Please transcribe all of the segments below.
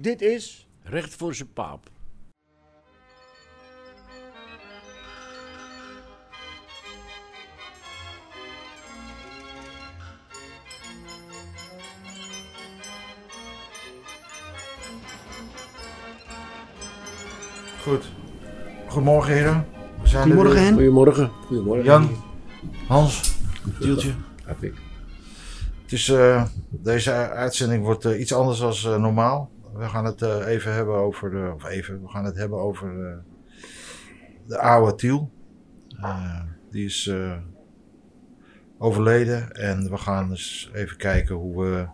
Dit is Recht voor zijn paap. Goed. Goedemorgen, heren. We zijn er Goedemorgen, weer. Hen. Goedemorgen. Goedemorgen. Jan, Hans, Tieltje. Patrick. Het is, eh, deze uitzending wordt eh, iets anders dan normaal. We gaan het eh, even hebben over, de, of even, we gaan het hebben over eh, de oude Tiel. Eh, die is eh, overleden en we gaan dus even kijken hoe we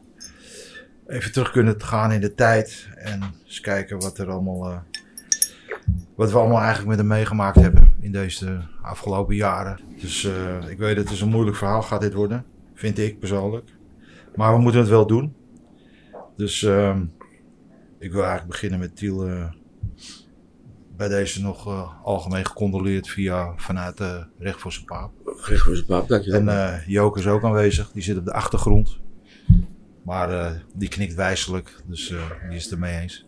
even terug kunnen gaan in de tijd. En eens kijken wat er allemaal, eh, wat we allemaal eigenlijk met hem meegemaakt hebben in deze afgelopen jaren. Dus eh, ik weet dat het is een moeilijk verhaal gaat dit worden. Vind ik persoonlijk. Maar we moeten het wel doen. Dus ehm, ik wil eigenlijk beginnen met Tiel. eh, bij deze nog eh, algemeen gecondoleerd via, vanuit eh Recht voor zijn Paap. Recht voor zijn paap, dankjewel. En eh Joke is ook aanwezig. Die zit op de achtergrond. Maar eh, die knikt wijselijk. Dus eh, die is het ermee eens.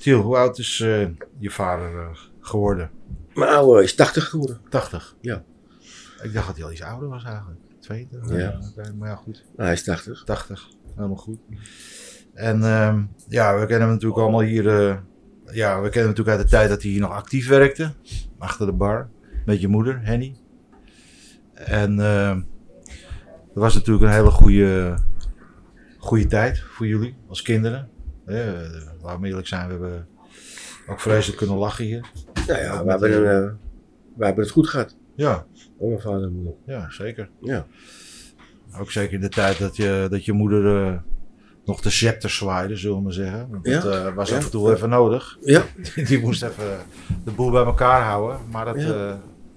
Tiel, hoe oud is eh, je vader eh, geworden? Mijn oude is 80 geworden. 80. Ja. Ik dacht dat hij al iets ouder was eigenlijk. 22. Ja. eh, Maar ja, goed. Nou, hij is 80. 80. Helemaal goed. En ehm, ja, we kennen hem natuurlijk allemaal hier. eh, ja, we kennen hem natuurlijk uit de tijd dat hij hier nog actief werkte. Achter de bar. Met je moeder, Henny. En ehm, dat was natuurlijk een hele goede, goede tijd voor jullie als kinderen. Eh, laten we eerlijk zijn, we hebben ook vreselijk kunnen lachen hier. Nou ja, we hebben, een, eh, we hebben het goed gehad. Ja, Oh, mijn vader en moeder. Ja, zeker. Ja. Ook zeker in de tijd dat je, dat je moeder eh, nog de scepter zwaaide, zullen we maar zeggen. Want dat eh, was Ja. af en toe even nodig. Ja. Die moest even de boel bij elkaar houden. Maar dat Ja. eh,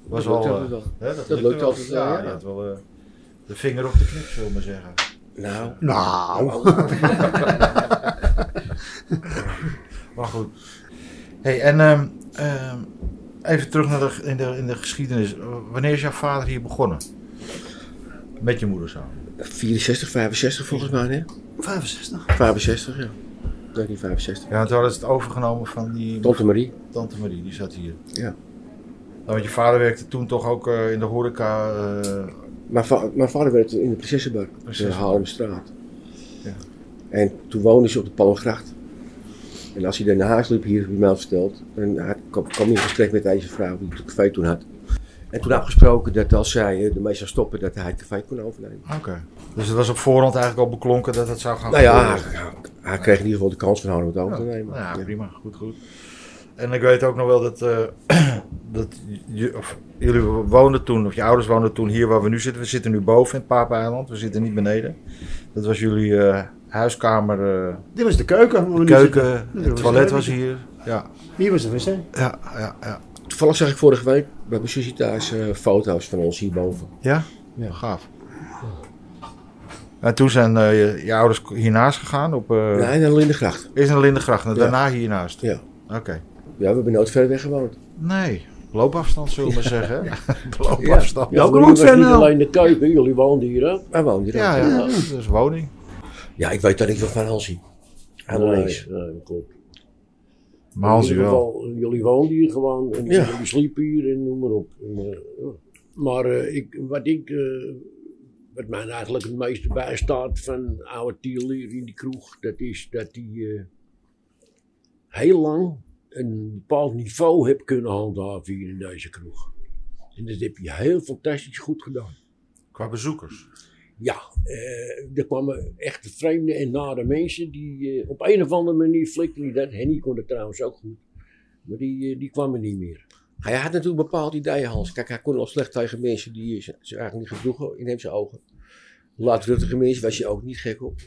was Dat wel... lukt eh, altijd wel. hè, Dat lukte lukt wel. altijd wel, Ja, ja. je had wel eh, de vinger op de knip, zullen we maar zeggen. Nou. Nou, Maar goed. Hey, en ehm, ehm, even terug naar de, in, de, in de geschiedenis. Wanneer is jouw vader hier begonnen? Met je moeder samen. 64, 65 volgens mij, hè? 65. 65, ja. Nee, niet 65. Ja, toen hadden ze het overgenomen van die Tante Marie. Tante Marie, die zat hier. Ja. Nou, want je vader werkte toen toch ook eh, in de horeca. eh, Mijn, va- mijn vader werkte in de Prinsessenbar, in de Prinsessenbar. Haarlemstraat. Ja. En toen woonde ze op de Palmgracht. En als hij dan naar huis liep, hier heb je mij al verteld, dan had- kwam kwam hij in gesprek met deze vrouw die het café toen had. En toen afgesproken dat als zij eh, ermee zou stoppen, dat hij het café kon overnemen. Oké. Dus het was op voorhand eigenlijk al beklonken dat het zou gaan Nou ja, gebeuren. hij, hij kreeg in ieder geval de kans van haar om het over te Oh. Ja, nemen. nou ja, Ja. prima. Goed, goed. En ik weet ook nog wel dat, eh, dat je, of, jullie woonden toen, of je ouders woonden toen hier waar we nu zitten. We zitten nu boven in Paapeiland, we zitten niet beneden. Dat was jullie eh, huiskamer, eh, Dit was de keuken. waar we nu zitten. keuken, was het toilet de was keuken. hier. Ja, Hier was de wc. ja, ja. Ja? Toevallig zag ik vorige week bij mijn zusje thuis eh, foto's van ons hierboven. ja? Ja. Gaaf. En toen zijn eh, je, je ouders hiernaast gegaan op... eh, Nee, naar Lindengracht. Eerst naar Lindengracht en Ja. daarna hiernaast. Ja. Oké. Ja, we hebben nooit ver weg gewoond. Nee, loopafstand zullen we maar zeggen. Loopafstand. Ja, Ja, ook jullie nog was niet niet alleen alleen de keuken, jullie woonden hier ook. Wij woonden hier ja, ook. ja. dat is dus woning. Ja, ik weet dat ik wel van Hansie. Helemaal niks. klopt. Maar als in u ieder wel. geval, eh, jullie woonden hier gewoon en Ja. jullie sliepen hier en noem maar op. En, eh, ja. Maar eh, ik, wat ik, eh, wat mij eigenlijk het meeste bijstaat van oude Tiel hier in die kroeg, dat is dat hij eh, heel lang een bepaald niveau heeft kunnen handhaven hier in deze kroeg. En dat heb je heel fantastisch goed gedaan. Qua bezoekers. Ja, eh, er kwamen echt vreemde en nare mensen die eh, op een of andere manier flikten die dat. Henny kon het trouwens ook goed, maar die, eh, die kwamen niet meer. Hij had natuurlijk een bepaald idee, Hans. Kijk, hij kon al slecht tegen mensen die ze ze eigenlijk niet gedroegen in hem zijn ogen. Laatruchtige mensen was je ook niet gek op.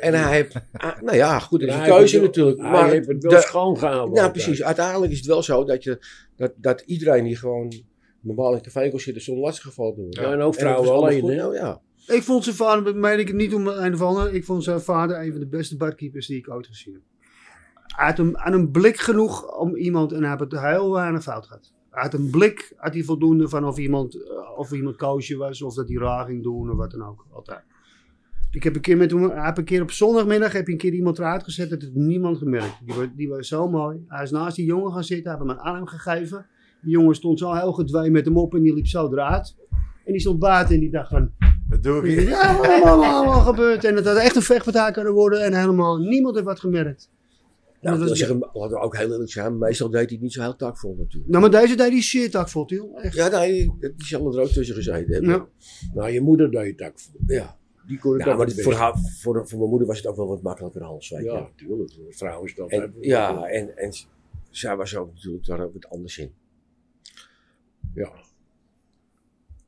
En hij heeft, ah, nou ja, goed, dat is een Maar hij keuze heeft het wel- natuurlijk. Hij Maar heeft het wel de- schoongehouden. nou, precies. Uiteindelijk is het wel zo dat, je, dat, dat iedereen die gewoon normaal in een café kon zitten zonder lastiggevallen door. Ja, en ook dat vrouwen was allemaal alleen, goed. hè? Nou, ja. Ik vond zijn vader, meen ik het niet om een of ander, ik vond zijn vader een van de beste barkeepers die ik ooit gezien heb. Hij had een, aan een blik genoeg om iemand, en hij had het heel weinig fout gehad. Hij had een blik, had hij voldoende van of iemand, eh, of iemand koosje was, of dat hij raar ging doen, of wat dan ook. Altijd. Ik heb een keer, met, hem- heb een keer op zondagmiddag heb je een keer iemand eruit gezet. Dat heeft niemand gemerkt. Die was, die was zo mooi. Hij is naast die jongen gaan zitten. Hij heeft hem een arm gegeven. Die jongen stond zo heel gedwee met hem op. En die liep zo eruit. En die stond buiten en die dacht van... Dat doe ik hier. Ja, wat allemaal, allemaal gebeurd. En het had echt een vechtpartij kunnen worden. En helemaal niemand heeft wat gemerkt. Ja, dat Nou, dat was- zeggen, laten we ook heel eerlijk zijn, meestal deed hij het niet zo heel takvol natuurlijk. Nou, maar deze deed die shit tak vol, joh. Echt. Ja, nee, die zal er ook tussen gezeten hebben. Ja. Nou, je moeder deed het ook voor. Ja. Die kon het Ja, ook maar het voor, beste. haar, voor, voor mijn moeder was het ook wel wat makkelijker Hans, weet je. Ja, natuurlijk. Vrouw is dat. En, ja, en, en zij was ook natuurlijk daar ook wat anders in. ja.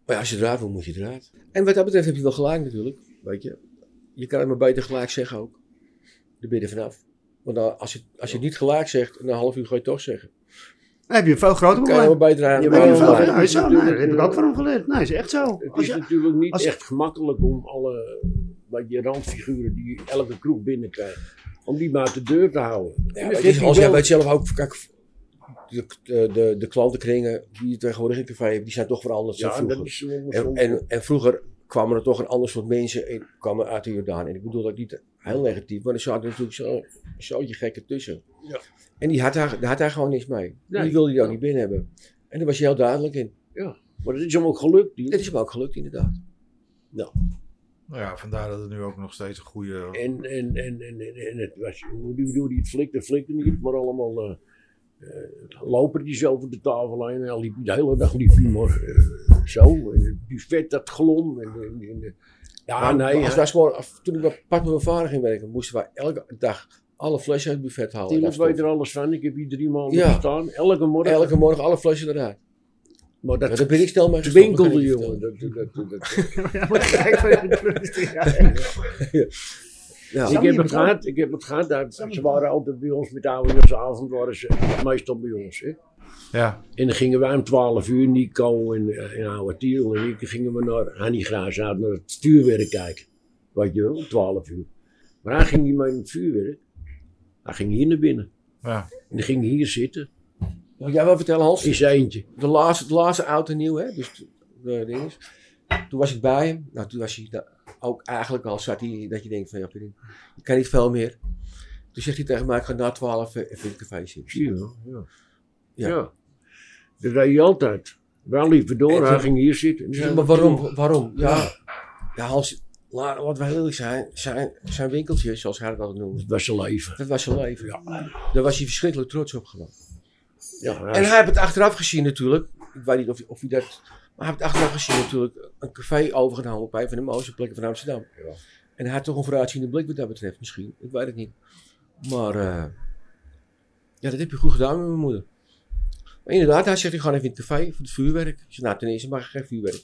Maar ja, als je eruit wil, moet je eruit. En wat dat betreft heb je wel gelijk natuurlijk, weet je. Je kan het maar beter gelijk zeggen ook. Daar ben je er vanaf. Want dan- als je, als je het niet gelijk zegt, na een half uur ga je het toch zeggen. Dan heb je een veel groter Dan kan je probleem. wel beter aan. Ja, Dan heb je maar- een aan- veel maar- groter- Is zo, nee, dat heb ik maar- ook van hem geleerd. Nee, is echt zo. Het Als is je- natuurlijk niet als je- echt gemakkelijk om alle wat je randfiguren die elke kroeg binnenkrijgt, om die maar uit de deur te houden. Ja, En maar dat het is, heeft als hij jij wel. weet zelf ook, kijk, de, de, de, de klantenkringen die je tegenwoordig in het café hebt, die zijn toch veranderd dan Ja, dat vroeger. is soms- En, en, en vroeger kwamen er toch een ander soort mensen in, kwamen uit de Jordaan. En ik bedoel dat niet heel negatief, maar er zaten natuurlijk zo, zo je gekken tussen. Ja. En die had daar, daar had daar gewoon niks mee. Nee. Die wilde die ook niet binnen hebben. En daar was je heel duidelijk in. Maar dat is hem ook gelukt. Die, Het is hem ook gelukt, inderdaad. Nou ja, vandaar dat het nu ook nog steeds een goede... En, en, en, en, en, en het was, hoe die, hoe die het flikte, flikte niet, maar allemaal eh eh, lopertjes over de tafel heen. En hij liep de hele dag liep hij maar eh, zo. En het buffet dat glom. En, en, en, eh, ja, Maar nee, als hij- wij 's morgen- af- toen ik bij- pas met mijn vader ging werken, moesten wij elke dag alle flesjes uit het buffet halen. Timmer Daar stond- weet er alles van. Ik heb hier drie maanden Ja. gestaan. Elke morgen. Elke morgen alle flesjes eruit. Maar Ja, dat daar ben ik snel mee gestopt, dat kan twinkelde, ik je jongen. Dat, dat, dat, dat- dat- Ja, maar kijk van je kleur. Ja, echt. vertellen. Zo Ik niet heb het begonnen. gehad, ik heb het gehad. Daar- Zo niet Ze waren altijd bij ons met oudejaarsavond, waren ze meestal bij ons. Hè? Ja, En dan gingen wij om 12 uur, Nico en, eh, en oude Tiel en ik, gingen we naar Hannie Graashout, naar het vuurwerk kijken. Weet je wel, om 12 uur. Maar hij ging niet mee naar het vuurwerk. Hij ging hier naar binnen. ja. En dan ging hij hier zitten, Wil jij wel vertellen, Hans? in zijn eentje. De laatste, de laatste oud en nieuw, hè? Dus de ding is. Toen was ik bij hem. Nou, toen was hij da- ook eigenlijk al zat hij dat je denkt van ja, ik kan niet veel meer. Toen zegt hij tegen mij, ik ga na 12 even in het café zitten. Zie je wel, ja. Ja. Ja. Dat deed hij altijd. Wij liepen door, En hij toen- ging hier zitten. En toen Ja, zei maar hij, waarom? Waarom? Ja, ja Hans, laat, laten we heel eerlijk zijn, zijn, zijn winkeltjes, zoals hij dat altijd noemde, Het was zijn leven. dat was zijn leven. Ja. Daar was hij verschrikkelijk trots op gewoon. Ja, hij En is- hij heeft het achteraf gezien natuurlijk. Ik weet niet of, of hij dat. Maar hij heeft het achteraf gezien natuurlijk. Een café overgenomen op een van de mooiste plekken van Amsterdam. Ja. En hij had toch een vooruitziende blik wat dat betreft misschien. Ik weet het niet. Maar eh, ja, dat heb je goed gedaan met mijn moeder. Maar inderdaad, hij zegt, ik ga even in het café voor het vuurwerk. Ik zeg, nou ten eerste mag ik geen vuurwerk.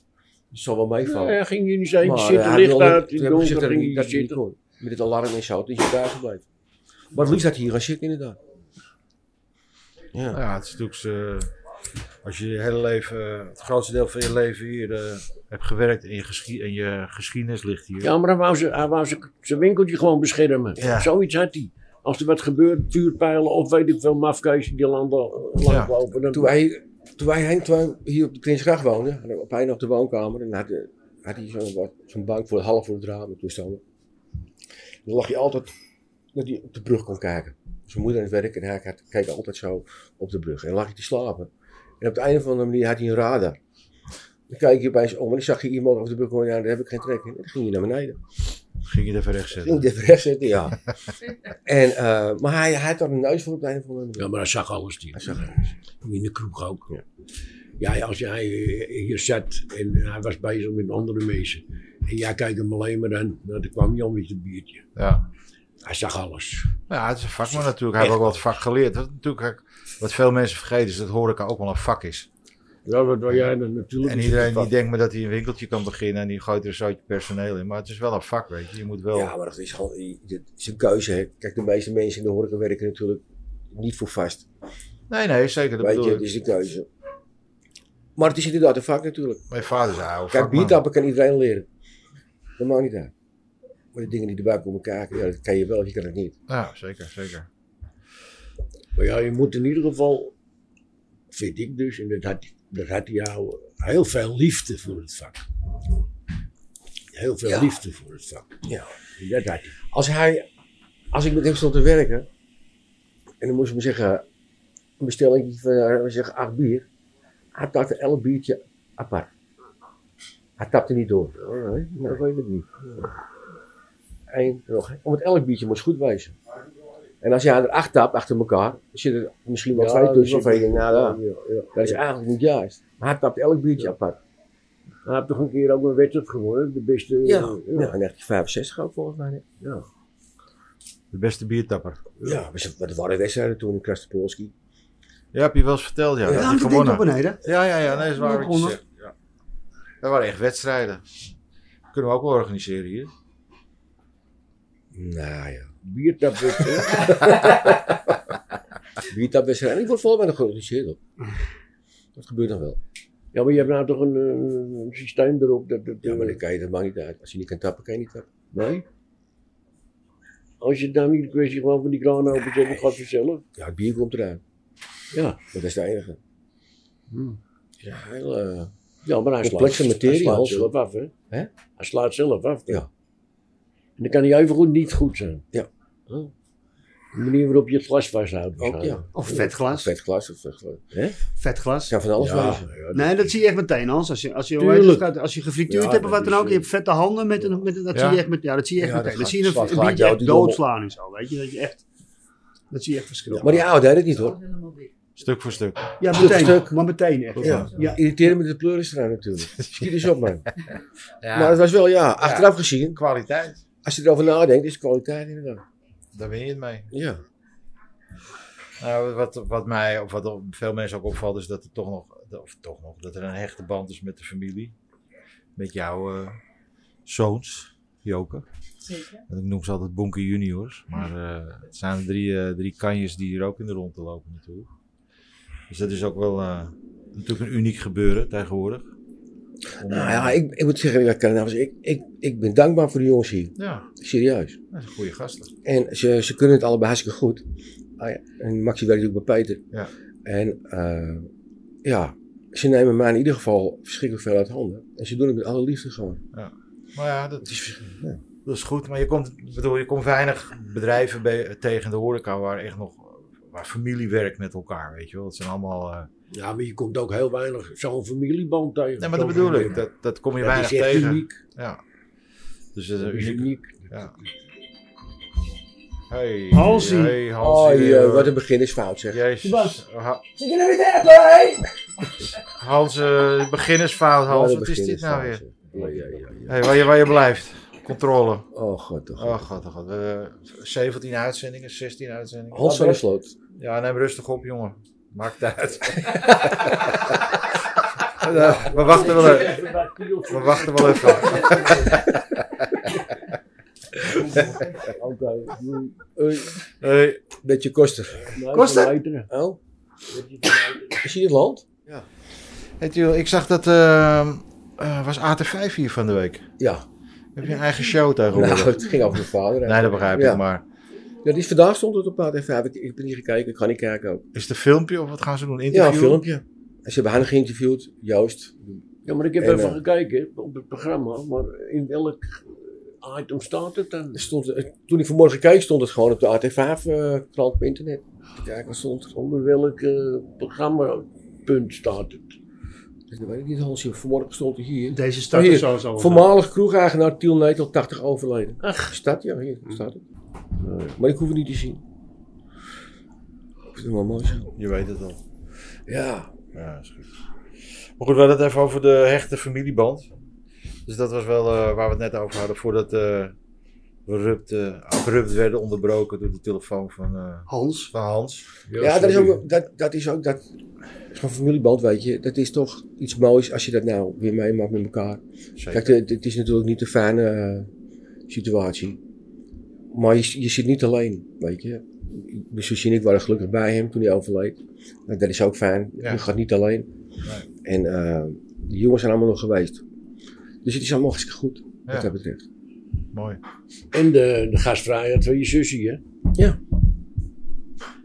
Dat zal wel Ja, meevallen. hij ging hier in zijn eentje Maar, eh, zitten, hij licht wilde- uit, toen in heb het ik gezegd donker dat ik ging niet- hij dat hij niet zitten. kon. Met het alarm en zo, toen is hij daar gebleven. Maar het liefst dat hij hier gaan zitten inderdaad. Ja. Nou ja, het is natuurlijk... eh, als je je hele leven, eh, het grootste deel van je leven hier eh, hebt gewerkt en je, geschi- en je geschiedenis ligt hier. Ja, maar hij wou, ze, hij wou ze, zijn winkeltje gewoon beschermen. Ja. Zoiets had hij. Als er wat gebeurt, vuurpijlen of weet ik veel, mafkees die landen eh, Ja. lopen. Dan, Toen wij, toen wij Henk toen wij hier op de Prinsgracht woonden, hadden we op een op de woonkamer, en had, eh, had hij zo'n wat- zo'n bank voor half voor het raam en toestanden. En Dan lag je altijd dat hij op de brug kon kijken. Dus Zijn moeder aan het werk en hij had- keek altijd zo op de brug. En dan lag hij te slapen. En op de een of andere manier had hij een radar. Dan keek je opeens om en dan zag je iemand over de brug komen. Ja, daar heb ik geen trek in. En dan ging je naar beneden. Ging je er even recht Dan ging zetten. hij even recht zitten, ja. en, eh, maar hij, hij had daar een neus voor op de een of andere manier. ja, maar hij zag alles. Die. Hij zag In de kroeg ook. Ja. Ja. ja, als jij eh, hier zat en hij was bezig met andere mensen. En jij kijkt hem alleen maar aan, nou, dan kwam Jan met een biertje. Ja. Hij zag alles. Nou Ja, het is een vakman natuurlijk. Hij heeft ook wel het vak geleerd. Dat is natuurlijk, wat veel mensen vergeten is dat horeca ook wel een vak is. Ja, wat wil jij dan natuurlijk. En iedereen die denkt maar dat hij een winkeltje kan beginnen en die gooit er een zootje personeel in. Maar het is wel een vak, weet je. Je moet wel... Ja, maar dat is gewoon dat is een keuze. Hè. Kijk, de meeste mensen in de horeca werken natuurlijk niet voor vast. Nee, nee, zeker. Dat Weet je, dus- bedoel het ik. is een keuze. Maar het is inderdaad een vak natuurlijk. Mijn vader is een oude Kijk, vakman. biertappen kan iedereen leren. Dat maakt niet uit. Maar de dingen die erbij komen kijken, ja, dat kan je wel of je kan het niet. Ja, zeker, zeker. Maar ja, je moet in ieder geval, vind ik dus, en dat had, dat had hij jou, heel veel liefde voor het vak. heel veel Ja. liefde voor het vak. Ja. En Dat had hij. Als hij, als ik met hem stond te werken, en dan moest ik me zeggen, een bestelling van eh, we zeggen acht bier, hij tapte elk biertje apart. Hij tapte niet door. Oh, nee, dat weet ik niet. Eén, nog. één. Want elk biertje moest goed wezen. En als je er acht tapt achter elkaar, zit er misschien wel twee tussen waarvan je denkt, nou, daar. Ja, ja. Dat is eigenlijk niet juist. Maar hij tapt elk biertje Ja. apart. Hij heeft toch een keer ook een wedstrijd gewonnen, de beste. eh, Ja. ja, in 1965 ook volgens mij. ja. De beste biertapper. Ja, maar ze- maar dat waren wedstrijden toen in Krastopolski. Ja, heb je wel eens verteld, ja. Ja, Dat ja hij die ding naar gewonnen. beneden. Ja, ja, ja. Nee, dat is waar wat je Honderd. zegt. Ja. Dat waren echt wedstrijden. Kunnen we ook wel organiseren hier. Nou ja. Biertablet. Wie dat best En ik word volgens mij nog georganiseerd op. Dat gebeurt nog wel. ja, maar je hebt nou toch een, eh, een systeem erop dat. dat Ja, maar eh, dan kan je dat maakt niet uit. Als je niet kan tappen, kan je niet tappen. Nee? Als je dan niet de kwestie gewoon van die kraan openzet, dan gaat vanzelf. Ja, het bier komt eruit. Ja. Dat is de enige. Ja, heel, eh, Ja, maar hij slaat, Complexe materie, hij slaat Hans, zelf af, hè? Hè? Hij slaat zelf af. Ja. En dan kan hij even goed niet goed zijn. Ja. De manier waarop je het glas vasthoudt. ook ja. Of vet Een glas. vet glas of vet glas. Hè? Vet Het glas. kan van alles ja, wezen. ja, dat- Nee, dat zie je echt meteen, Hans. Als je, als je, hoe Tuurlijk. heet het, gaat- als je gefrituurd Ja, hebt of dat wat dan is, ook, je eh, hebt vette handen, met, een- met, dat, Ja. zie je echt met, ja, dat zie je echt Ja, dat meteen. Dat gaat- zie je slaat een, een gelijk biertje jou echt die dobbel. doodslaan en zo, weet je. Dat, je echt, dat zie je echt verschil. Maar die oude deed het niet hoor. Stuk voor stuk. Ja, Stuk, meteen. stuk. Maar meteen echt. Ja. Ja. Irriteren met de pleuris eraan natuurlijk. Schiet eens op man. Maar het was wel ja, achteraf gezien. Kwaliteit. Als je erover nadenkt, is het kwaliteit inderdaad. Daar ben je het mee. Ja. Nou, wat, wat mij, of wat veel mensen ook opvalt, is dat er toch nog, of toch nog, dat er een hechte band is met de familie. Met jouw eh, zoons, Joke. Zeker. Ik noem ze altijd Bonke Juniors. Maar eh, het zijn drie, eh, drie kanjes die hier ook in de rondte lopen natuurlijk. Dus dat is ook wel eh, natuurlijk een uniek gebeuren tegenwoordig. Om- Nou ja, ik, ik moet zeggen, ik, kan- ik, ik, ik ben dankbaar voor de jongens hier. ja, Serieus. dat is een goede gasten. En ze, ze kunnen het allebei hartstikke goed. Ah ja, En Maxi werkt ook bij Peter. Ja. En eh, ja, ze nemen mij in ieder geval verschrikkelijk veel uit handen. En ze doen het met alle liefde gewoon. Maar ja, dat Het is, ja. Dat is goed, maar je komt, ik bedoel, je komt weinig bedrijven bij, tegen in de horeca waar echt nog waar familie werkt met elkaar, weet je wel. Dat zijn allemaal. eh, Ja, maar je komt ook heel weinig zo'n familieband tegen. nee, maar dat bedoel ik. Dat, Dat, dat kom je dat weinig is echt tegen. uniek. Ja. Dus dat is Dat een is uniek. uniek. Ja. Hey, Halsie. Hey, Oh, Halsie. je, eh, wat een begin is fout zeg. Jezus. Ha- Zit je nou weer te appen, hè? Hans, eh, beginnersfout, Hans. een Wat is begin dit nou fout, weer? zeg. Ja, ja, ja, ja. Hey, waar, je, waar je blijft. Controle. Oh god, toch. Oh god, oh god. Eh, 17 uitzendingen, 16 uitzendingen. Hans van der Sloot. Ja, neem rustig op, jongen. Maakt uit. Ja, we wachten wel even. We wachten wel even. Oké. Eh, Hey, beetje kosten. Kost het? Oh, zie je het land? hey, Tiel, ik zag dat. eh, eh, was AT5 hier van de week? Ja. Heb je een eigen show tegenwoordig? Nou, het ging over mijn vader. hè. Oh, nee, dat begrijp ik. Ja. Maar Ja, die is vandaag stond het op paard. Even, ik, ik ben niet gekeken, ik ga niet kijken ook. is het een filmpje of wat gaan ze doen? Ja, Interview? een filmpje. En ze hebben haar nog geïnterviewd, Joost. Ja, maar ik heb En, even eh, gekeken op het programma, maar in welk eh, item staat het dan? Er Stond, eh, toen ik vanmorgen keek, stond het gewoon op de AT5-krant eh, op internet. Kijk, wat stond er? Onder welk programma programmapunt staat het? Dus dat weet ik niet, Hansje. Vanmorgen stond het hier. Deze stad Hier, is sowieso. Voormalig kroegeigenaar Tiel Netel, 80 overleden. Ach. Staat, ja, hier staat het. Eh, Maar ik hoef het niet te zien. Ik vind het wel mooi zo. Je weet het al. Ja. Ja, is goed. Maar goed, we hadden het even over de hechte familieband. Dus dat was wel eh, waar we het net over hadden. Voordat eh, we rupt, eh, abrupt werden onderbroken door de telefoon van, eh, Hans. van Hans. Ja, dat is ook, dat, dat is ook, dat zo'n familieband, weet je, dat is toch iets moois als je dat nou weer meemaakt met elkaar. Zeker. Kijk, het- het is natuurlijk niet een fijne eh, situatie. Maar je, je zit niet alleen, weet je. Mijn zusje en ik waren gelukkig bij hem toen hij overleed. Nou, dat is ook fijn. Ja. Je gaat niet alleen. En eh, de jongens zijn allemaal nog geweest. Dus het is allemaal hartstikke goed, Ja. wat dat betreft. Mooi. En de, de gastvrijheid van je zusje, hè? Ja.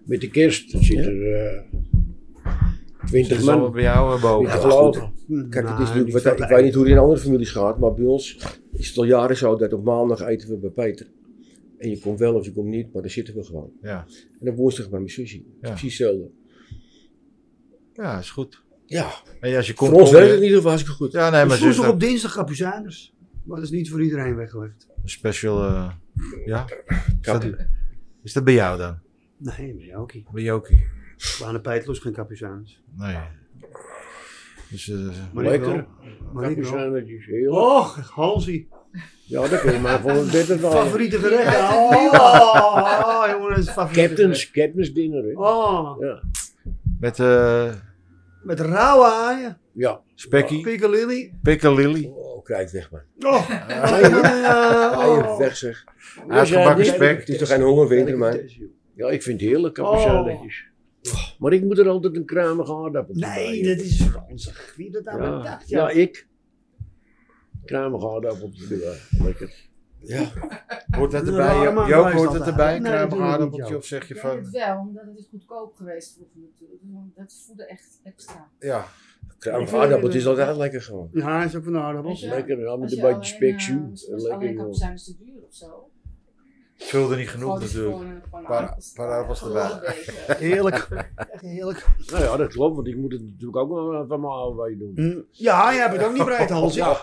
Met de kerst zit Ja. er Zit twintig het allemaal man. bij jou eh, boven? Ja, Ja, geloof goed. me. Kijk, het Nou, is natuurlijk, die wat, valt ik wel weet niet hoe het in andere families gaat, maar bij ons is het al jaren zo dat op maandag eten we bij Peter. En je komt wel of je komt niet, maar dan zitten we gewoon. Ja. En dan woensdag bij mijn sushi. Ja. Precies hetzelfde. ja, is goed. Ja, En als je komt, voor ons kom je- werkt het in ieder geval hartstikke goed. Ja, nee, maar Dus ze is woensdag een op dinsdag Capuzanes. Maar dat is niet voor iedereen weggelegd. special. eh, ja. Is dat, Kapu. is dat bij jou dan? Nee, maar ja, ook niet. Bij Jokie? We aan de Peetloos geen Capuzanes. Nee. Dus, eh, Maar Lekker. ik wel. Maar ik wel. Kapucijnen, dat is heel... Och, Hansie. Ja, dat kun je maar voor een beter dan. Favoriete gerecht. Oh, oh, jongen, dat is het favoriete gerecht. Captains, captains dinner, hè. Oh, Ja. met eh met rauwe haaien. ja. Spekkie, Piccalilli. Pikkelilly, Oh, krijg weg man. Oh, Krijg oh. weg zeg. uitgebakken Ja, spek. Het is toch geen hongerwinter man. Ja, ik vind het heerlijk, kapucijnetjes. Maar ik moet er altijd een kruimige aardappel Nee, dat is ranzig. Wie dat nou aan Ja, mijn dacht, ja ja. ik. Kruimige aardappels. Ja, lekker. Hoort dat Ja, erbij? maar Joop? maar Joop, is hoort dat het erbij? Een eigenlijk? Nee, dat doen we kruimig niet, aardappeltje Joop. of zeg je Ja, het van... wel, omdat het is goedkoop geweest vroeger natuurlijk. Dus Dat voelde echt extra. Ja, Kruimige aardappeltje is altijd lekker gewoon. Ja, is ook van de Weet aardappels. je, Lekker, ja, met als een je beetje alleen, eh, spekzuur. als je Lekker, Alleen joh. kapucijnen is te duur of zo. vulde niet genoeg Gewoon, het is natuurlijk. gewoon, eh, gewoon Paar- aardappels. paar aardappels Gewoon erbij. een beetje. Heerlijk. Echt heerlijk. Nou ja, dat klopt, want ik moet het natuurlijk ook wel eh, van mijn AOW doen. Mm. Ja, jij hebt het ook niet breed, Hans. Ja.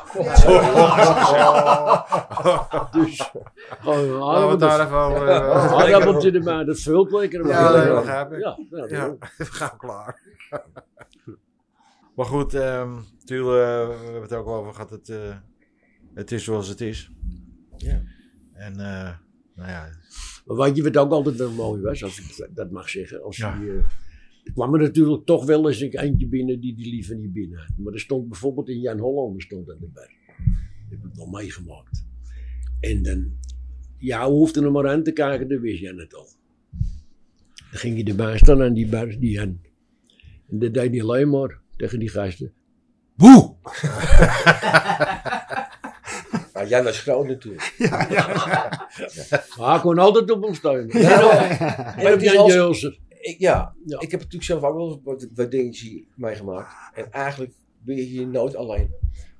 Oh. Dus, gewoon een Laten we het daar aardappel. even over hebben. Een aardappeltje erbij, dat vult lekker. Ja, man. nee, dat begrijp ik. Ja, ja, dat Ja, ook. we gaan klaar. maar goed, ehm Tuul, eh, we hebben het ook al over gehad. Het, eh, het is zoals het is. Ja. En eh nou ja, Maar Weet je wat ook altijd wel mooi was, als ik dat mag zeggen. Als Ja. die, eh, er kwam er natuurlijk toch wel eens een eindje binnen die die liever niet binnen had. Maar er stond bijvoorbeeld in Jan Hollander stond dat erbij. Dat heb ik wel meegemaakt. En dan, ja, hoefde er maar aan te kijken, dan wist Jan het al. Dan ging je erbij staan aan die bar, die Jan. En dat deed hij alleen maar tegen die gasten. Boe! Ja, Jan was groot natuurlijk. Maar hij kon altijd op ons steunen. Ja, maar- En op het is Jan als- Jeulsen. Ik, ja, Ja. ik heb natuurlijk zelf ook wel wat, wat dingetjes meegemaakt. En eigenlijk ben je hier nooit alleen.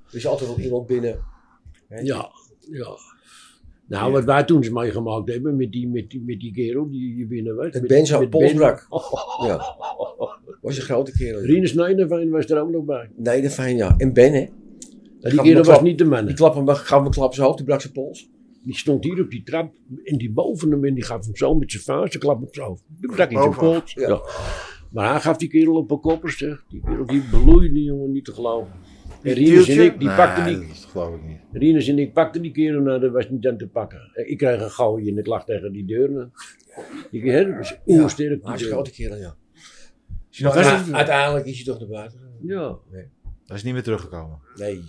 Er is altijd wel iemand binnen. Hè? Ja, ja. Nou, wat wij toen eens meegemaakt hebben met die, met die, met die kerel die hier binnen was. Met Met Benzo met Polsbrak. Ben. Ja. Was een grote kerel. Rinus Nijdenveen was er ook nog bij. Nee, dat fijn ja. En Ben, hè? Nou, Gaf die kerel me was klap- niet de Die man. klap hem, gaf hem een klap op zijn hoofd, die brak zijn pols. Die stond hier op die trap en die boven hem en die gaf hem zo met zijn vuist een klap op zijn hoofd. Die brak in zijn Boven. pols. Ja. Ja. Maar hij gaf die kerel op een koppers, zeg. Die kerel die bloeide, jongen, niet te geloven. En Rinus en Tieltje? ik, die Nee, pakten die, Dat geloof ik niet. Rinus en ik pakten die kerel, nou, dat was niet aan te pakken. Ik kreeg een gooi en ik lag tegen die deur. Ik hè, dat was oersterk. Maar die hij is een deur. grote kerel, ja. Maar Maar was u- het- uiteindelijk is hij toch naar buiten gegaan? Ja, Dat is niet meer teruggekomen. Nee.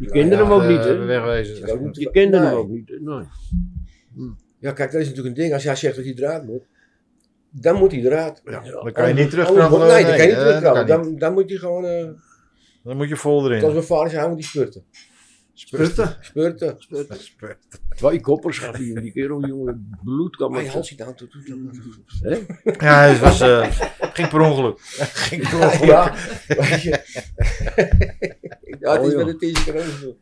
je kende hem eh, ook niet, hè? Wegwezen. Dat moet- Je kende hem Nee. ook niet. hè? Nee. Ja, kijk, dat is natuurlijk een ding. Als jij zegt dat hij eruit moet, dan moet hij eruit. Dan kan je niet terugkrabbelen. terugkomen. Oh, Nee, dan kan je niet eh, dat terugkrabbelen. niet. Dan, dan moet hij gewoon, eh, Dan moet je vol zoals erin. mijn vader zei, hij moet die spurten. Sputten. Spurten. Twee koppers gaf hij en die kerel, jongen, bloed kwam Maar je hand uit. ziet aan toe. Hè? Ja, hij was, eh, ging per ongeluk. ging per ongeluk. Ja, weet je. ja, het Oh, is joh. met een t-shirt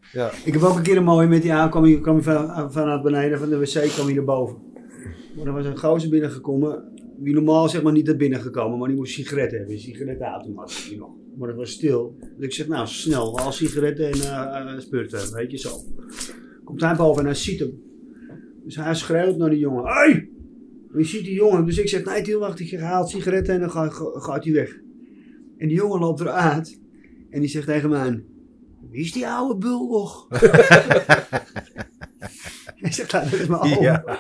Ik heb ook een keer een mooie met die aan. Kwam hier, kwam hier van, vanuit beneden, van de wc kwam hij naar boven. Maar er was een gozer binnengekomen. Die normaal zeg maar niet had binnengekomen, maar die moest sigaretten hebben. Een sigarettenautomaat had hij nog. Maar het was stil. Dus ik zeg nou snel, al sigaretten en eh eh, spurten, weet je zo. Komt hij boven en hij ziet hem. Dus hij schreeuwt naar die jongen. Hé! Hey! En Je ziet die jongen. Dus ik zeg, nee Tiel, wacht, ik haal sigaretten en dan ga- ga- gaat hij weg. En die jongen loopt eruit. En die zegt tegen mij, wie is die oude bulldog? ik zeg, nou, dat is mijn oom. Ja.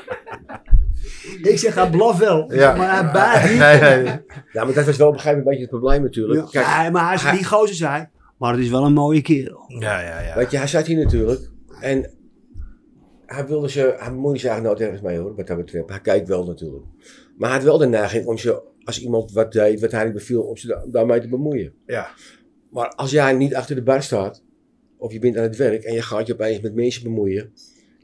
Ik zeg, hij blaf wel, Ja. maar hij baat niet. Nee, nee. Ja, maar dat was wel op een gegeven moment een beetje het probleem natuurlijk. Ja, Kijk, nee, maar hij zei, die gozer zei, maar het is wel een mooie kerel. Ja, ja, ja. Weet je, hij zat hier natuurlijk. En hij wilde ze, hij moeide zich eigenlijk nooit nou, ergens mee hoor, wat dat betreft. Hij kijkt wel natuurlijk. Maar hij had wel de neiging om ze, als iemand wat deed, wat hij niet beviel, om ze da- daarmee te bemoeien. Ja. Maar als jij niet achter de bar staat, of je bent aan het werk en je gaat je opeens met mensen bemoeien.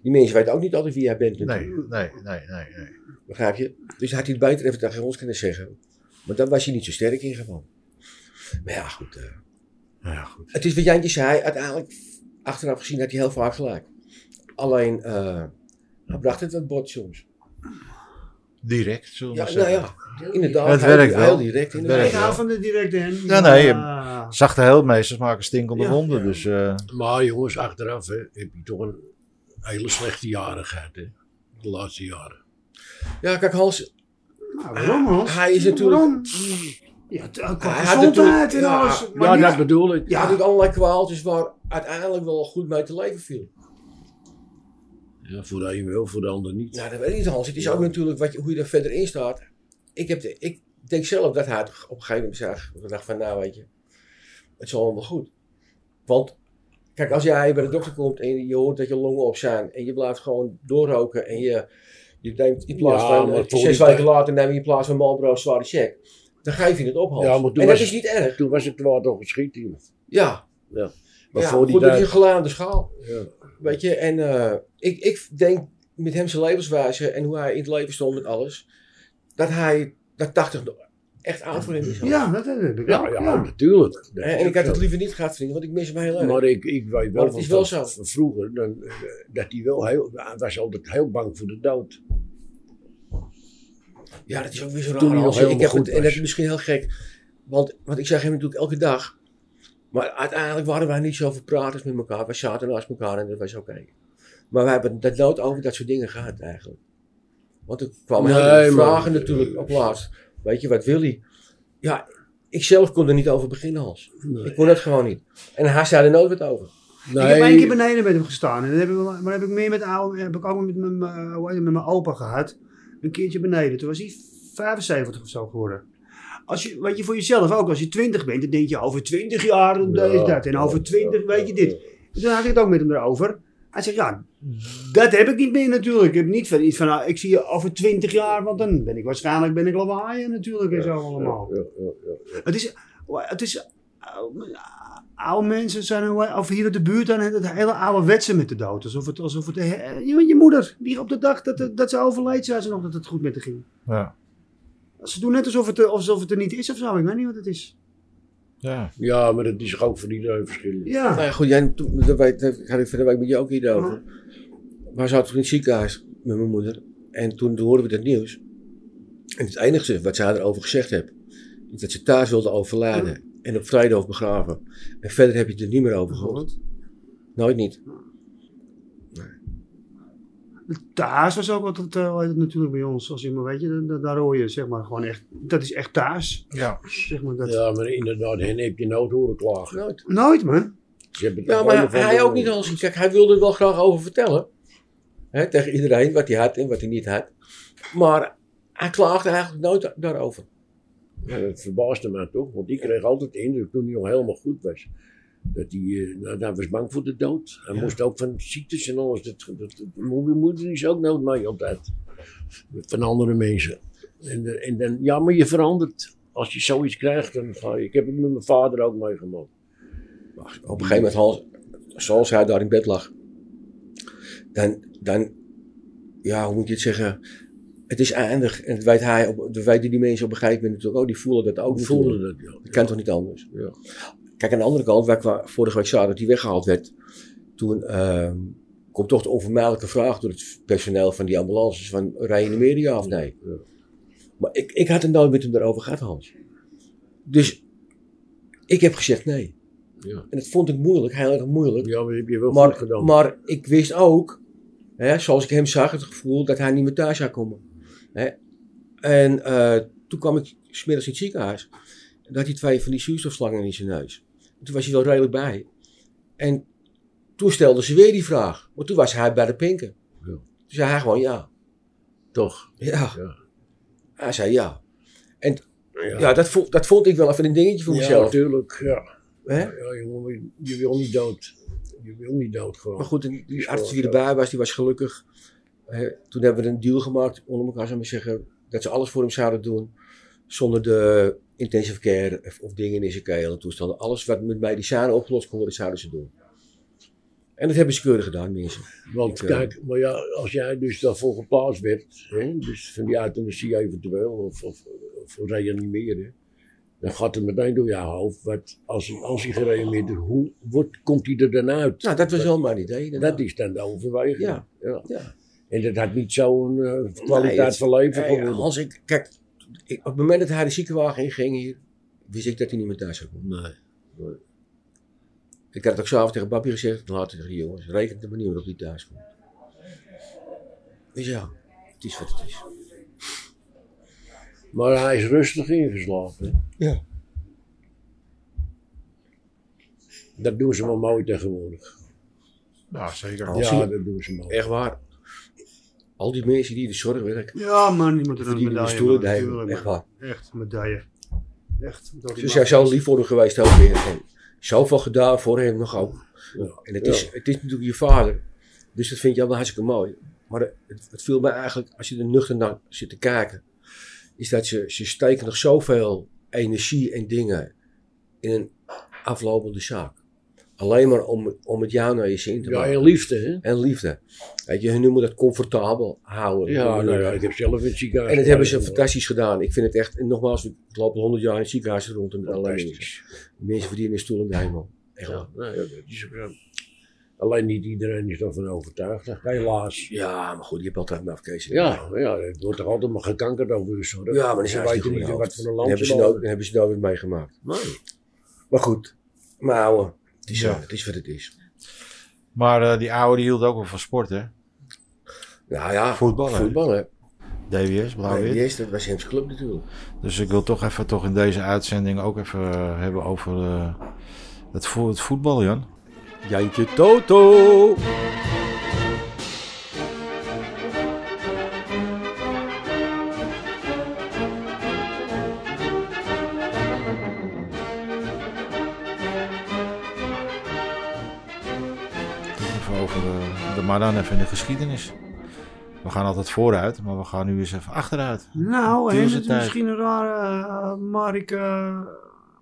Die mensen weten ook niet altijd wie jij bent natuurlijk, Nee, nee, nee, nee. nee. begrijp je? Dus hij had het beter even tegen ons kunnen zeggen. Maar daar was hij niet zo sterk in gewoon. Maar ja, goed. eh, Nou Ja, goed. het is wat Jantje zei, uiteindelijk achteraf gezien had hij heel vaak gelijk. Alleen, eh hij bracht het wat bot soms. Direct, zullen we Ja, maar nou zeggen. ja, inderdaad. Het heel- werkt wel. Heel direct, werkt Ik inderdaad. wel. hou van de directe hem. Ja, nee, je- Ah. Zachte heelmeesters maken stinkende Ja, wonden, ja. dus... eh, Maar jongens, achteraf hè, heb je toch een hele slechte jaren gehad, hè? De laatste jaren. Ja, kijk Hans, Nou, waarom Hans? hij is natuurlijk... Waarom? Ja, t- qua Hij had gezondheid en natuurlijk- ja, alles. ja, Maar dat ja, bedoel ik. Hij had ja, natuurlijk allerlei kwaaltjes waar uiteindelijk wel goed mee te leven viel. Ja, voor de een wel, voor de ander niet. Nou, dat weet ik niet Hans. Het is ook natuurlijk wat je, hoe je er verder in staat. Ik, heb de- ik denk zelf dat hij het op een gegeven moment zag. Ik dacht van, nou weet je, het zal allemaal wel goed. Want, kijk, als jij bij de dokter komt en je hoort dat je longen op zijn. En je blijft gewoon doorroken en je, je neemt in plaats Ja, van, maar eh, voor zes die weken tijd- later neem je in plaats van Marlboro een zware check. Dan geef je het op, Hans. Ja, maar toen en dat was- is niet erg. Toen was het waar toch geschieden. Ja, Maar ja, voor die goed, dat is een tijd. geladen schaal. Ja. Weet je, en eh, ik, ik denk met hem zijn levenswijze en hoe hij in het leven stond met alles, dat hij dat 80 nog echt aan voor hem is. ja, dat heb ik. Ja, Ja, ja, natuurlijk. Dat En, en ik had het liever niet gehad, vrienden, want ik mis hem heel erg. Maar ik, ik weet Maar wel, het is wel van- zo. van vroeger dan, eh, dat hij wel heel, hij was altijd heel bang voor de dood. ja, dat is ook weer zo Toen raar. hij nog Hans. Ik heb helemaal het, goed en dat is was. misschien heel gek, want, want ik zag hem natuurlijk elke dag. Maar uiteindelijk waren wij niet zoveel praters met elkaar. We zaten naast elkaar en dat was oké. Maar we hebben dat nooit over dat soort dingen gehad eigenlijk. Want er kwamen Nee, heel veel maar- vragen natuurlijk op laatst. Weet je, wat wil hij? Ja, ik zelf kon er niet over beginnen, Hans. Ik kon dat gewoon niet. En hij zei er nooit wat over. Ik heb één keer beneden met hem gestaan. En dan heb ik, wel- maar heb ik meer met oude, heb ik ook met mijn, eh, hoe heet het, met mijn opa gehad. Een keertje beneden. Toen was hij 75 of zo geworden. Als je, weet je, voor jezelf ook, als je 20 bent, dan denk je over 20 jaar en Ja, dat. En over ja, 20, ja, weet je dit. En Toen had ik het ook met hem erover. Hij zegt, ja, dat heb ik niet meer natuurlijk. Ik heb niet van iets van, nou, ik zie je over 20 jaar, want dan ben ik waarschijnlijk ben ik lawaaien natuurlijk en zo allemaal. Ja, ja, ja. Het is, het is oude, oude mensen zijn, of hier in de buurt, dan het hele oude wetsen met de dood. Alsof het, alsof het eh, je, je moeder, die op de dag dat, dat ze overleed, zei ze nog dat het goed met haar ging. ja. Ze doen net alsof het, eh, alsof het er niet is of zo, ik weet niet wat het is. ja. Ja, maar dat is ook voor iedereen verschillend. Ja, Nou ja, goed, jij, toen, dat weet- dat had ik van de week met jou ook hierover. Maar ze had toen in het ziekenhuis met mijn moeder. En toen hoorden we dat nieuws. En het enige wat zij erover gezegd heeft, is dat ze thuis wilde overlijden. En op vrijdag begraven. En verder heb je het er niet meer over gehoord. goed. Nooit niet. Thuis was ook wat het, eh, hoe heet het natuurlijk bij ons, als je maar weet, je, da- da- daar hoor je zeg maar gewoon echt, dat is echt thuis. ja. Zeg maar dat. Ja, maar inderdaad, hen heb je nooit horen klagen. Nooit. Nooit man. Ze hebben het Ja, op een maar of andere hij ook manier. niet als. Kijk, hij wilde er wel graag over vertellen. Hè, tegen iedereen wat hij had en wat hij niet had. Maar hij klaagde eigenlijk nooit daarover. Ja, dat verbaasde me toch, want ik kreeg altijd de indruk toen hij nog helemaal goed was. Dat hij, eh, nou, hij was bang voor de dood. Hij moest ook van ziektes en alles. Dat, dat, dat, mijn moeder is ook nooit mee altijd. Van andere mensen. En, eh, en dan, ja, maar je verandert. Als je zoiets krijgt, dan ga je. Ik heb het met mijn vader ook meegemaakt. Maar op een gegeven moment, Hans, zoals hij daar in bed lag, dan, dan ja, hoe moet je het zeggen? Het is eindig. En dat weet hij, op, dat weten die mensen op een gegeven moment natuurlijk ook. Oh, Die voelen dat ook. Ik natuurlijk. voelde dat, ja. Dat kan toch niet anders? Ja. Kijk, aan de andere kant, waar ik wa- vorige week zag dat die weggehaald werd, toen ehm, komt toch de onvermijdelijke vraag door het personeel van die ambulances: van reanimeer je ja of nee? Ja. Maar ik, ik had het nooit met hem daarover gehad, Hans. Dus ik heb gezegd nee. Ja. En dat vond ik moeilijk, heel erg moeilijk. Ja, maar dat heb je wel goed Maar, gedaan. maar ik wist ook, hè, zoals ik hem zag, het gevoel dat hij niet meer thuis zou komen. Hè. En eh, toen kwam ik smiddags in het ziekenhuis. En daar had hij twee van die zuurstofslangen in zijn neus. En toen was hij wel redelijk bij. En toen stelden ze weer die vraag. Maar toen was hij bij de pinken. Ja. Toen zei hij gewoon ja. toch. Ja. Ja. Hij zei ja. Ja, dat, vond, dat vond ik wel even een dingetje voor Ja, mezelf. natuurlijk. Ja. Hè? Ja, jongen, maar je- je wil niet dood. Je wil niet dood gewoon. Maar goed, die, die Ja, arts die ja. erbij was, die was gelukkig. Hè, toen hebben we een deal gemaakt onder elkaar, zou ik maar zeggen, dat ze alles voor hem zouden doen. Zonder de intensive care of, of dingen in zijn keel en toestanden. Alles wat met medicijnen opgelost kon worden, zouden ze doen. En dat hebben ze keurig gedaan, mensen. Want Ik, eh, kijk, maar ja, als jij dus daarvoor geplaatst werd, hè, dus van die euthanasie eventueel, of, of, of reanimeren, Dan gaat het meteen door jouw hoofd. Wat, als, hij- als hij gereanimeerd is, hoe wordt, komt hij er dan uit? Nou, dat was wel mijn idee. inderdaad. Dat is dan de overweging. Ja. Ja. Ja. En dat had niet zo'n eh, kwaliteit Nee, het- van leven Hey, geworden. als ik, kijk, ik- op het moment dat hij de ziekenwagen inging hier, wist ik dat hij niet meer thuis zou komen. Nee. Ik had het ook s'avonds tegen Babje gezegd, laat het hier jongens, rekent er maar niet meer op die thuis komt. Dus ja, het is wat het is. Maar hij is rustig ingeslapen. hè? Ja. Dat doen ze maar mooi tegenwoordig. Nou, zeker. Als Ja, je- dat doen ze mooi. Echt waar. Al die mensen die in de zorg werken, Ja, man, die moet er een verdienen de medaille stoelen man, duimen. tuurlijk, Echt Dus man. waar. Echt, medaille. Echt. dat Ze mag- zijn zo lief voor hem geweest ook weer. En zoveel gedaan voor hem nog ook. Ja. En het is, het is natuurlijk je vader. Dus dat vind ik wel hartstikke mooi. Maar het, het viel mij eigenlijk, als je er nuchter naar zit te kijken, is dat ze, ze steken nog zoveel energie en dingen in een aflopende zaak. Alleen maar om, om het jou naar je zin te Ja, maken. en liefde, hè? En liefde. Weet je, hun noemen dat comfortabel houden. Ja, nou ja, ik heb zelf een ziekenhuis. En dat hebben ze gewerkt. fantastisch gedaan. Ik vind het echt, en nogmaals, ik loop al honderd jaar in het ziekenhuis rond en allerlei dingen. Fantastisch. Mensen verdienen een stoel in de hemel. Echt Ja, waar. nou ja, dat is ook zo. Alleen niet iedereen is daarvan overtuigd, hè. helaas. Ja, maar goed, je hebt altijd een afkezen. Ja, ja, het wordt toch altijd maar gekankerd over de zorg. ja, maar dan ze zijn ze weten niet in goed wat voor een Dan land hebben ze ze nou- wonen. dan hebben ze nou weer meegemaakt. Nee. Maar goed, maar ouwe, het is, zo, Ja. het is wat het is. Maar eh, die oude die hield ook wel van sport, hè? Nou ja, Voetballen. voetballen. DWS, blauw-wit. Nee, eerst, dat was Hems Club natuurlijk. Dus ik wil toch even toch in deze uitzending ook even eh, hebben over eh, het, vo- het voetbal, Jan. Jantje Toto. Toch Even over eh, de, maar dan even in de geschiedenis. We gaan altijd vooruit, maar we gaan nu eens even achteruit. Nou, Duur hè, is dat het is tijd. misschien een rare, eh, maar ik, eh,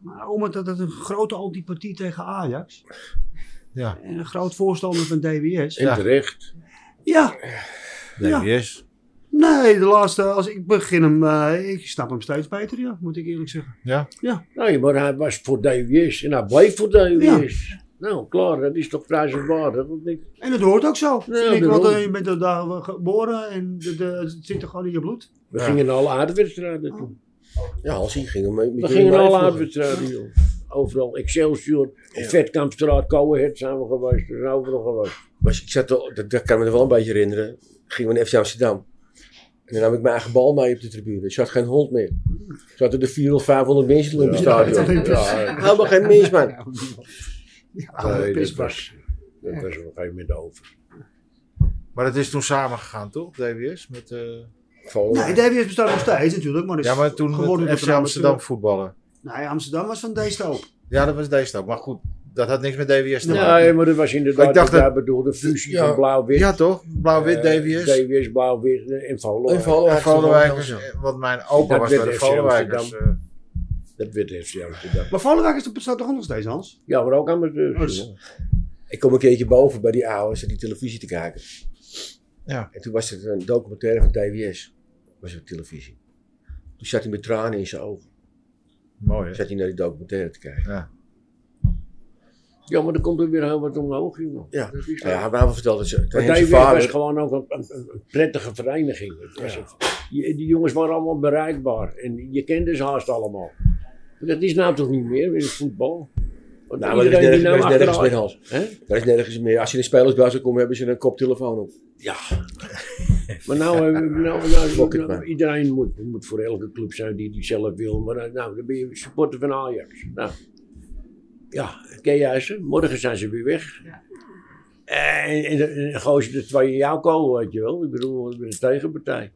maar omdat het een grote antipathie tegen Ajax Ja, en een groot voorstander van DWS. En Ja. terecht. Ja, Ja. DWS. nee, de laatste, als ik begin hem, eh, ik snap hem steeds beter, ja, moet ik eerlijk zeggen. Ja, Nee, maar Nou, hij was voor DWS en hij bleef voor DWS. Nou, klaar, dat is toch prijzenwaardig, of niet? En dat hoort ook zo. Ja, vind ik, daarom. want eh, je bent er daar geboren en de, de, het zit er gewoon in je bloed. Oh. We Ja. gingen naar alle aardwedstrijden toe. Ja, als hij ging hem mee. We gingen naar alle aan aardwedstrijden, joh. Overal, Excelsior, op Vetkampstraat, Kouwehet zijn we geweest, we zijn overal geweest. Maar ik zat al, dat, dat kan me nog wel een beetje herinneren. Gingen we naar FC Amsterdam. En dan nam ik mijn eigen bal mee op de tribune. Er zat geen hond meer. Er zaten er 400, 500 mensen in het stadion. dat- Ja, Helemaal geen mens, man. Ja, nee, dat pisbak. was, dat was op een gegeven moment over. maar het is toen samengegaan, toch? DWS? Met, eh, Volgende. Nee, DWS bestaat nog steeds natuurlijk, maar is Ja, maar toen geworden met door FC de Amsterdam amateur. voetballen. Nee, Amsterdam was van deze hoop. Ja, dat was deze ook. Maar goed, dat had niks met DWS te maken. Nee, maar dat was inderdaad, Ik ik dacht dacht dat- dat bedoelde fusie Ja. van blauw-wit. Ja, toch? Blauw-wit, eh, DWS. DWS, blauw-wit eh, en En Volendam. Volendam. En Vollenwijkers, Volendam. eh, want mijn opa Dat was werd bij de FC Vollenwijkers. eh, Dat werd FC Amsterdam. Maar Volendam is- bestaat toch ook nog steeds, Hans? Ja, maar ook amateurs. Oh, jongen. Ik kom een keertje boven bij die ouders en die televisie te kijken. Ja. En toen was het een documentaire van DWS. Was op televisie. Toen zat hij met tranen in zijn ogen. Mooi, Toen hè? zat hij naar die documentaire te kijken. Ja, maar dan komt er weer heel wat omhoog, jongen. Ja. dat is Nou Ja, waar. hij had mij wel verteld dat ze, Maar tegen zijn DWS was vader... gewoon ook een, een- een prettige vereniging. Het was een- je- die jongens waren allemaal bereikbaar en je kende ze haast allemaal. Maar Dat is nou toch niet meer in het voetbal? Nou, Want maar er is iedereen die nergens, er is nou nergens meer achteruit- Hans. Hè? Er is nergens meer. Als je in de spelersbuis zou komen, hebben ze een koptelefoon op. Maar nou, eh, nou, nou, nou, Fuck it, man. iedereen moet, moet voor elke club zijn die die zelf wil. Maar eh, nou, dan ben je supporter van Ajax. Nou, ja, ken jij ze? Morgen zijn ze weer weg. Ja. En, en, en, en gooi ze de twee in jouw kool, weet je wel. Ik bedoel, ik ben een tegenpartij.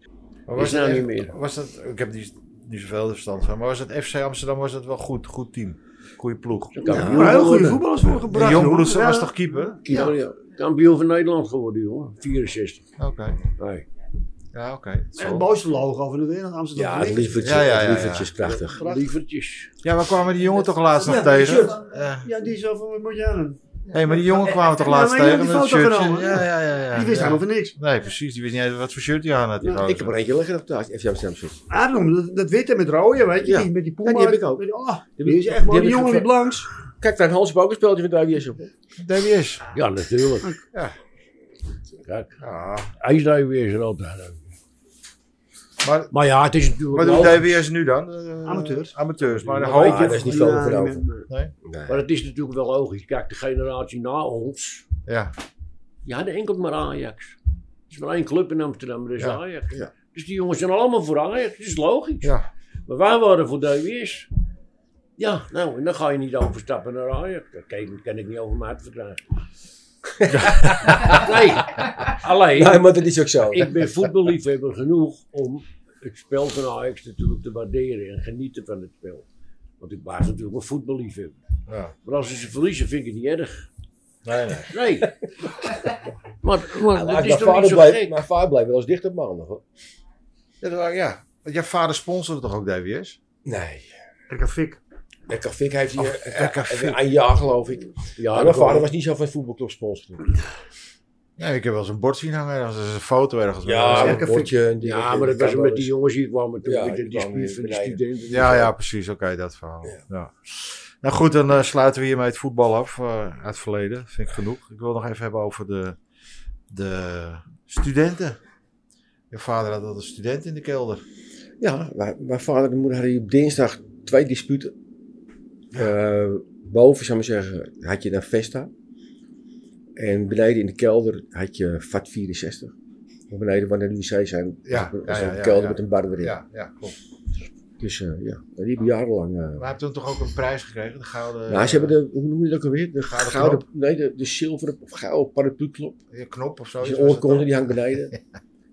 Maar Is nou het niet echt- meer. Was dat, ik heb niet, niet zoveel verstand van, maar was het FC Amsterdam was dat wel goed? Goed team. Goeie ploeg. Ze Ja, kampioen Maar heel goede geworden. voetballers voor De gebracht. Jongbloed hoor. was Ja. toch keeper? Ja, ja. Kampioen van Nederland geworden, jongen. 64. Oké. Nee. Ja, oké. En het mooiste logo van de wereld, Amsterdam. Ja, het Verlies. lievertje, Ja, ja, ja, het ja. lievertje is prachtig. Lievertjes. Ja, we kwamen die jongen toch laatst nog Ja, tegen? shirt. Ja. Ja, die is zo van, wat moet jij aan doen? Hé, maar die jongen kwamen toch eh, Ja, maar laatst die tegen had die met een foto shirtje? genomen. Ja, ja, ja. ja, Die wist ja. helemaal van niks. Nee, precies. Die wist niet eens wat voor shirt hij aan had. die Nou, gozer. Ik heb er eentje liggen op de FC Amsterdam. shirt. Ah, daarom, dat, dat witte met rode, weet je, Ja. die met die puma. Ja, die heb ik ook. Met- oh, Die die heb is ik- echt mooi. die Die heb ik jongen met blanks. Kijk, daar Hans heeft ook een speeltje van Davies op. DWS. Ja, natuurlijk. Ja. Kijk, Ja. ijsduiven is er altijd. ook. Maar Maar ja, het is natuurlijk wat wel- doet DWS nu dan? Eh, Amateurs. Amateurs. Maar de Ja, hoop... weet je, daar is niet veel over over. Maar het is natuurlijk wel logisch. Kijk, de generatie na ons, Ja. die hadden enkel maar Ajax. Er is maar één club in Amsterdam, dat is Ja, Ajax. ja. Dus die jongens zijn allemaal voor Ajax, dat is logisch. Ja. Maar wij waren voor DWS. Ja, nou, en dan ga je niet overstappen naar Ajax. Dat kan, kan ik niet over mijn hart verdragen. nee, alleen, Nee, maar dat is ook zo. ik ben voetballiefhebber genoeg om het spel van Ajax natuurlijk te waarderen en genieten van het spel. Want ik was natuurlijk een voetballiefhebber. ja. Maar als ze ze verliezen, vind ik het niet erg. Nee, nee. Nee. maar maar Mijn het is toch niet vader zo blijft- gek? mijn vader blijft wel eens dicht op maandag. hoor. Ja, dat- ja. Want jouw vader sponsorde toch ook DWS? Nee. Ik heb fik. En Kafik heeft hier en Kafik. eh, een jaar geloof ik. Ja, Maar dat mijn vader wel. was niet zo van voetbalclub sponsoren. Nee, ik heb wel eens een bord zien hangen. Dat is een foto ergens. Ja, ja. een bordje. en die- Ja, maar dat was ook met die jongens die kwamen toen. Ja, met die die kwamen spier van de beneden. studenten. Ja, ja, precies. Oké, dat verhaal. Ja. Nou goed, dan eh, sluiten we hiermee het voetbal af. eh, uit het verleden. Vind ik genoeg. Ik wil nog even hebben over de, de studenten. Je vader had altijd een student in de kelder. Ja, wij- mijn vader en moeder hadden hier op dinsdag twee disputen. Eh, boven, zou ik maar zeggen, had je dan Vesta. En beneden in de kelder had je VAT 64. Maar beneden, waar de UC zijn, Ja, was ja, een ja, ja, kelder ja. met een bar erin. Ja, ja klopt. Dus eh, ja, die hebben jarenlang... eh, Maar hij heeft toen toch ook een prijs gekregen? De gouden nou, ze hebben de, hoe noem je dat ook alweer? De Gouden gouden, knop. nee, de, de zilveren of gouden paraplu-klop. eh, knop of zo. Die iets was het oorkonde, dan? die hangt beneden.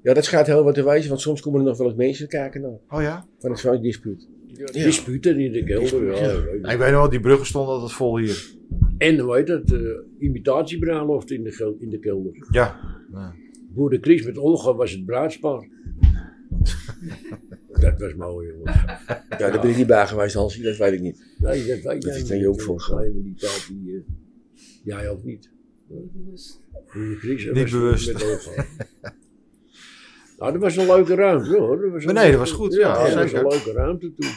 Ja, dat schijnt heel wat te wijzen, want soms komen er nog wel eens mensen kijken naar. Oh ja? Van het zo'n dispuut. Ja. Disputen in de kelder. Ja. Ja, ik weet nog wel, die bruggen stonden altijd vol hier. En hoe heet dat? eh imitatiebraanloft in de, gel- in de kelder. Ja. Boer de Chris met Olga was het bruidspaar. dat was mooi, jongens. Ja, daar ben ik niet bij geweest, Hansie, dat weet ik niet. Nee, dat weet Dat jij is dan niet. je ook voor gaan. Nee, maar die taal die, eh, Jij ook niet. Niet bewust. Boer de Chris, hè, Niet was het bewust. Met Olga. nou, dat was een leuke ruimte hoor. Dat was een Maar nee, dat leuke- was goed, ja, dat was zeker. een leuke ruimte toen.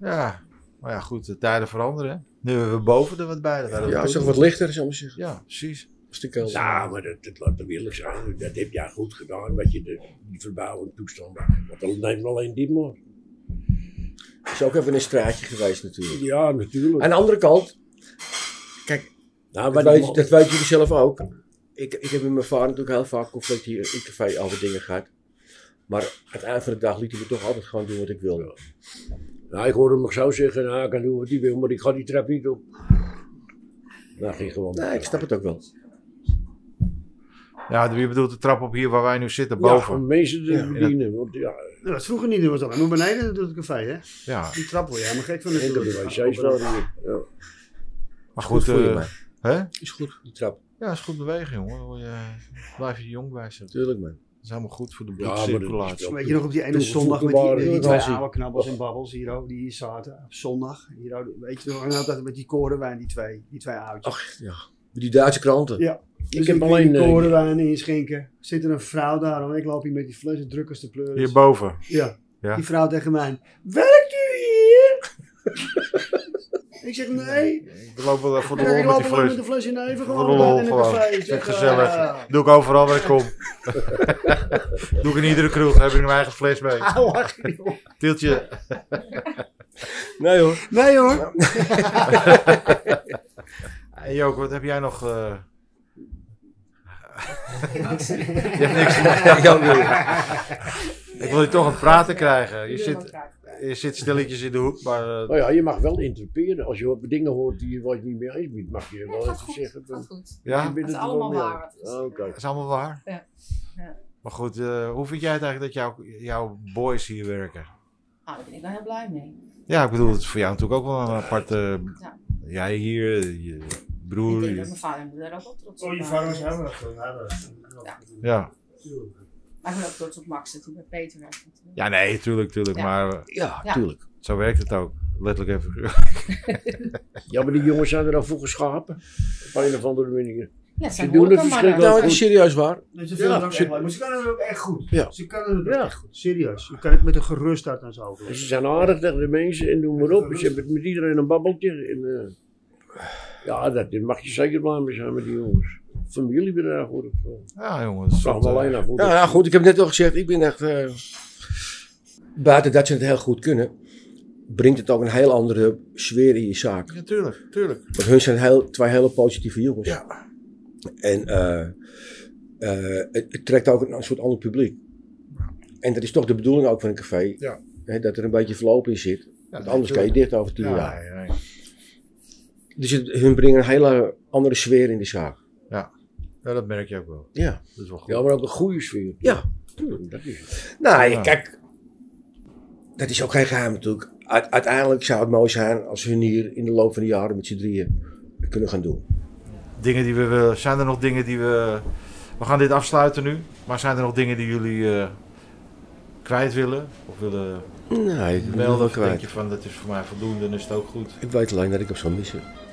Ja. Maar ja, goed, de tijden veranderen. hè. Nu hebben we boven er wat bij. Dat hadden we Ja, het toen is toch niet. wat lichter, zou ik maar zeggen. Ja, precies. Als de kelder. Ja, Nou, maar dat, dat laat me eerlijk zijn. Dat heb jij goed gedaan, wat je de, die verbouwing toestand. Want dan neemt alleen dit maar. Het is ook even een straatje geweest natuurlijk. Ja, natuurlijk. Aan de andere kant, kijk, nou, dat, wat die weet, man- dat weten jullie zelf ook. Ik, ik heb met mijn vader natuurlijk heel vaak conflict hier in het café over dingen gehad. Maar aan het eind van de dag liet hij me toch altijd gewoon doen wat ik wilde. nou, ik hoorde hem nog zo zeggen, nou, ik kan doen wat hij wil, maar ik ga die trap niet op. Nou, ging gewoon. Nee, ik snap het ook wel. Ja, je bedoelt de trap op hier waar wij nu zitten, Ja, om boven. mensen te Ja. bedienen. Want ja, Dat was vroeger niet, dat was alleen maar beneden dat doet het café, hè? Ja, Die trap word je helemaal gek van en de wc's natuurlijk. waren hier. Ja. maar goed. voel je eh, mij. hè? Is goed, die trap. Ja, is goed bewegen, jongen. Dan word je, blijf je jong bij zitten. Tuurlijk man. Dat is helemaal goed voor de maar dat is bloedcirculatie. wel- Weet je nog op die ene Toen we zondag met die, vroeger met die waren, twee was hij- oude knabbels en babbels hier ook, die hier zaten op zondag. Hier ook, weet je nog, en dan altijd met die korenwijn, die twee, die twee oudjes. Ach ja, die Duitse kranten. Ja. Dus heb wil alleen, die eh, korenwijn inschenken. Zit er een vrouw daar, en ik loop hier met die fles en druk als de pleuris. Hierboven. Ja. Ja. Die vrouw tegen mij. Werkt u hier? ik zeg nee. Ik loop wel voor de Ik lol met loop die alleen flus. met een flesje neven Voor gewoon de lol erbij in een gewoon. café. Vind ik Zeg, gezellig. eh, ah, Doe ik overal waar ik kom. Doe ik in iedere kroeg. Heb ik mijn eigen fles mee. ah, lach, joh. Tieltje. Nee hoor. Nee hoor. En Jook, wat heb jij nog? eh, Niks. Je hebt niks. Ja, ik ook niet. Ik wil je toch aan het praten krijgen. Nou, Je Ik wil zit, elkaar. je zit stilletjes in de hoek, maar... eh, Nou ja, je mag wel interpreteren. Als je wat dingen hoort die je waar je niet mee eens bent, mag je Nee, wel gaat even goed. zeggen. gaat van- goed. ja, je dat bent Het is er wel allemaal mee waar eens. wat is. Ah, Oké. is allemaal waar. Ja. Ja. Maar goed, eh, hoe vind jij het eigenlijk dat jouw, jouw boys hier werken? Ah, daar ben ik wel heel blij mee. Ja, ik bedoel, het is voor jou natuurlijk ook wel een aparte. Ja. Jij hier, je Ik broer. denk dat je- mijn vader en moeder daar ook wel trots op Oh, je waren. vangers hebben we ja. Maar ik ben ook trots op Max dat hij bij Peter werkt. natuurlijk. ja, nee, tuurlijk, tuurlijk. Ja. Maar eh, Ja, Ja. tuurlijk. zo werkt het ook. letterlijk en figuurlijk. Ja, maar die jongens zijn er al voor geschapen. Op een of andere manier. Ja, het zijn doen het horecamannen. verschrikkelijk. Nou, dat is serieus waar. Nee, ze vinden het ook ze- echt leuk, maar ze kunnen het ook echt goed. Ja. Ze kunnen het ook Ja. echt goed, serieus. Je kan het met een gerustheid naar ze En ze overleggen. zijn aardig tegen de mensen en doen maar op. Ze hebben met iedereen een babbeltje. En, eh, ja, dat, daar mag je zeker blij mee zijn met die jongens. Familiebedrijf wordt het gewoon. Ja, jongens. Vraag dat, me eh, alleen naar hoe Ja, dat- nou goed, ik heb net al gezegd, ik ben echt. eh, buiten dat ze het heel goed kunnen, brengt het ook een heel andere sfeer in je zaak. Ja, tuurlijk, tuurlijk. Want hun zijn heel, twee hele positieve jongens. Ja. En eh, eh, het, het trekt ook een, soort ander publiek. En dat is toch de bedoeling ook van een café. Ja. Hè, dat er een beetje verloop in zit. Want anders kan je dit. dicht over tien Ja, jaar. nee, nee. Dus het, hun brengen een hele andere sfeer in de zaak. Ja, dat merk je ook wel. Ja. Dat is wel goed. Ja, maar ook een goede sfeer. Ja. Tuurlijk, dat is het. Nou, Ja. kijk, dat is ook geen geheim natuurlijk. Uite- uiteindelijk zou het mooi zijn als hun hier in de loop van de jaren met z'n drieën het kunnen gaan doen. Dingen die we, willen- zijn er nog dingen die we... We gaan dit afsluiten nu. Maar zijn er nog dingen die jullie eh, kwijt willen? Of willen Nee, ik melden? ben wel Of denk je kwijt. van, dat is voor mij voldoende en is het ook goed? Ik weet alleen dat ik hem zou missen.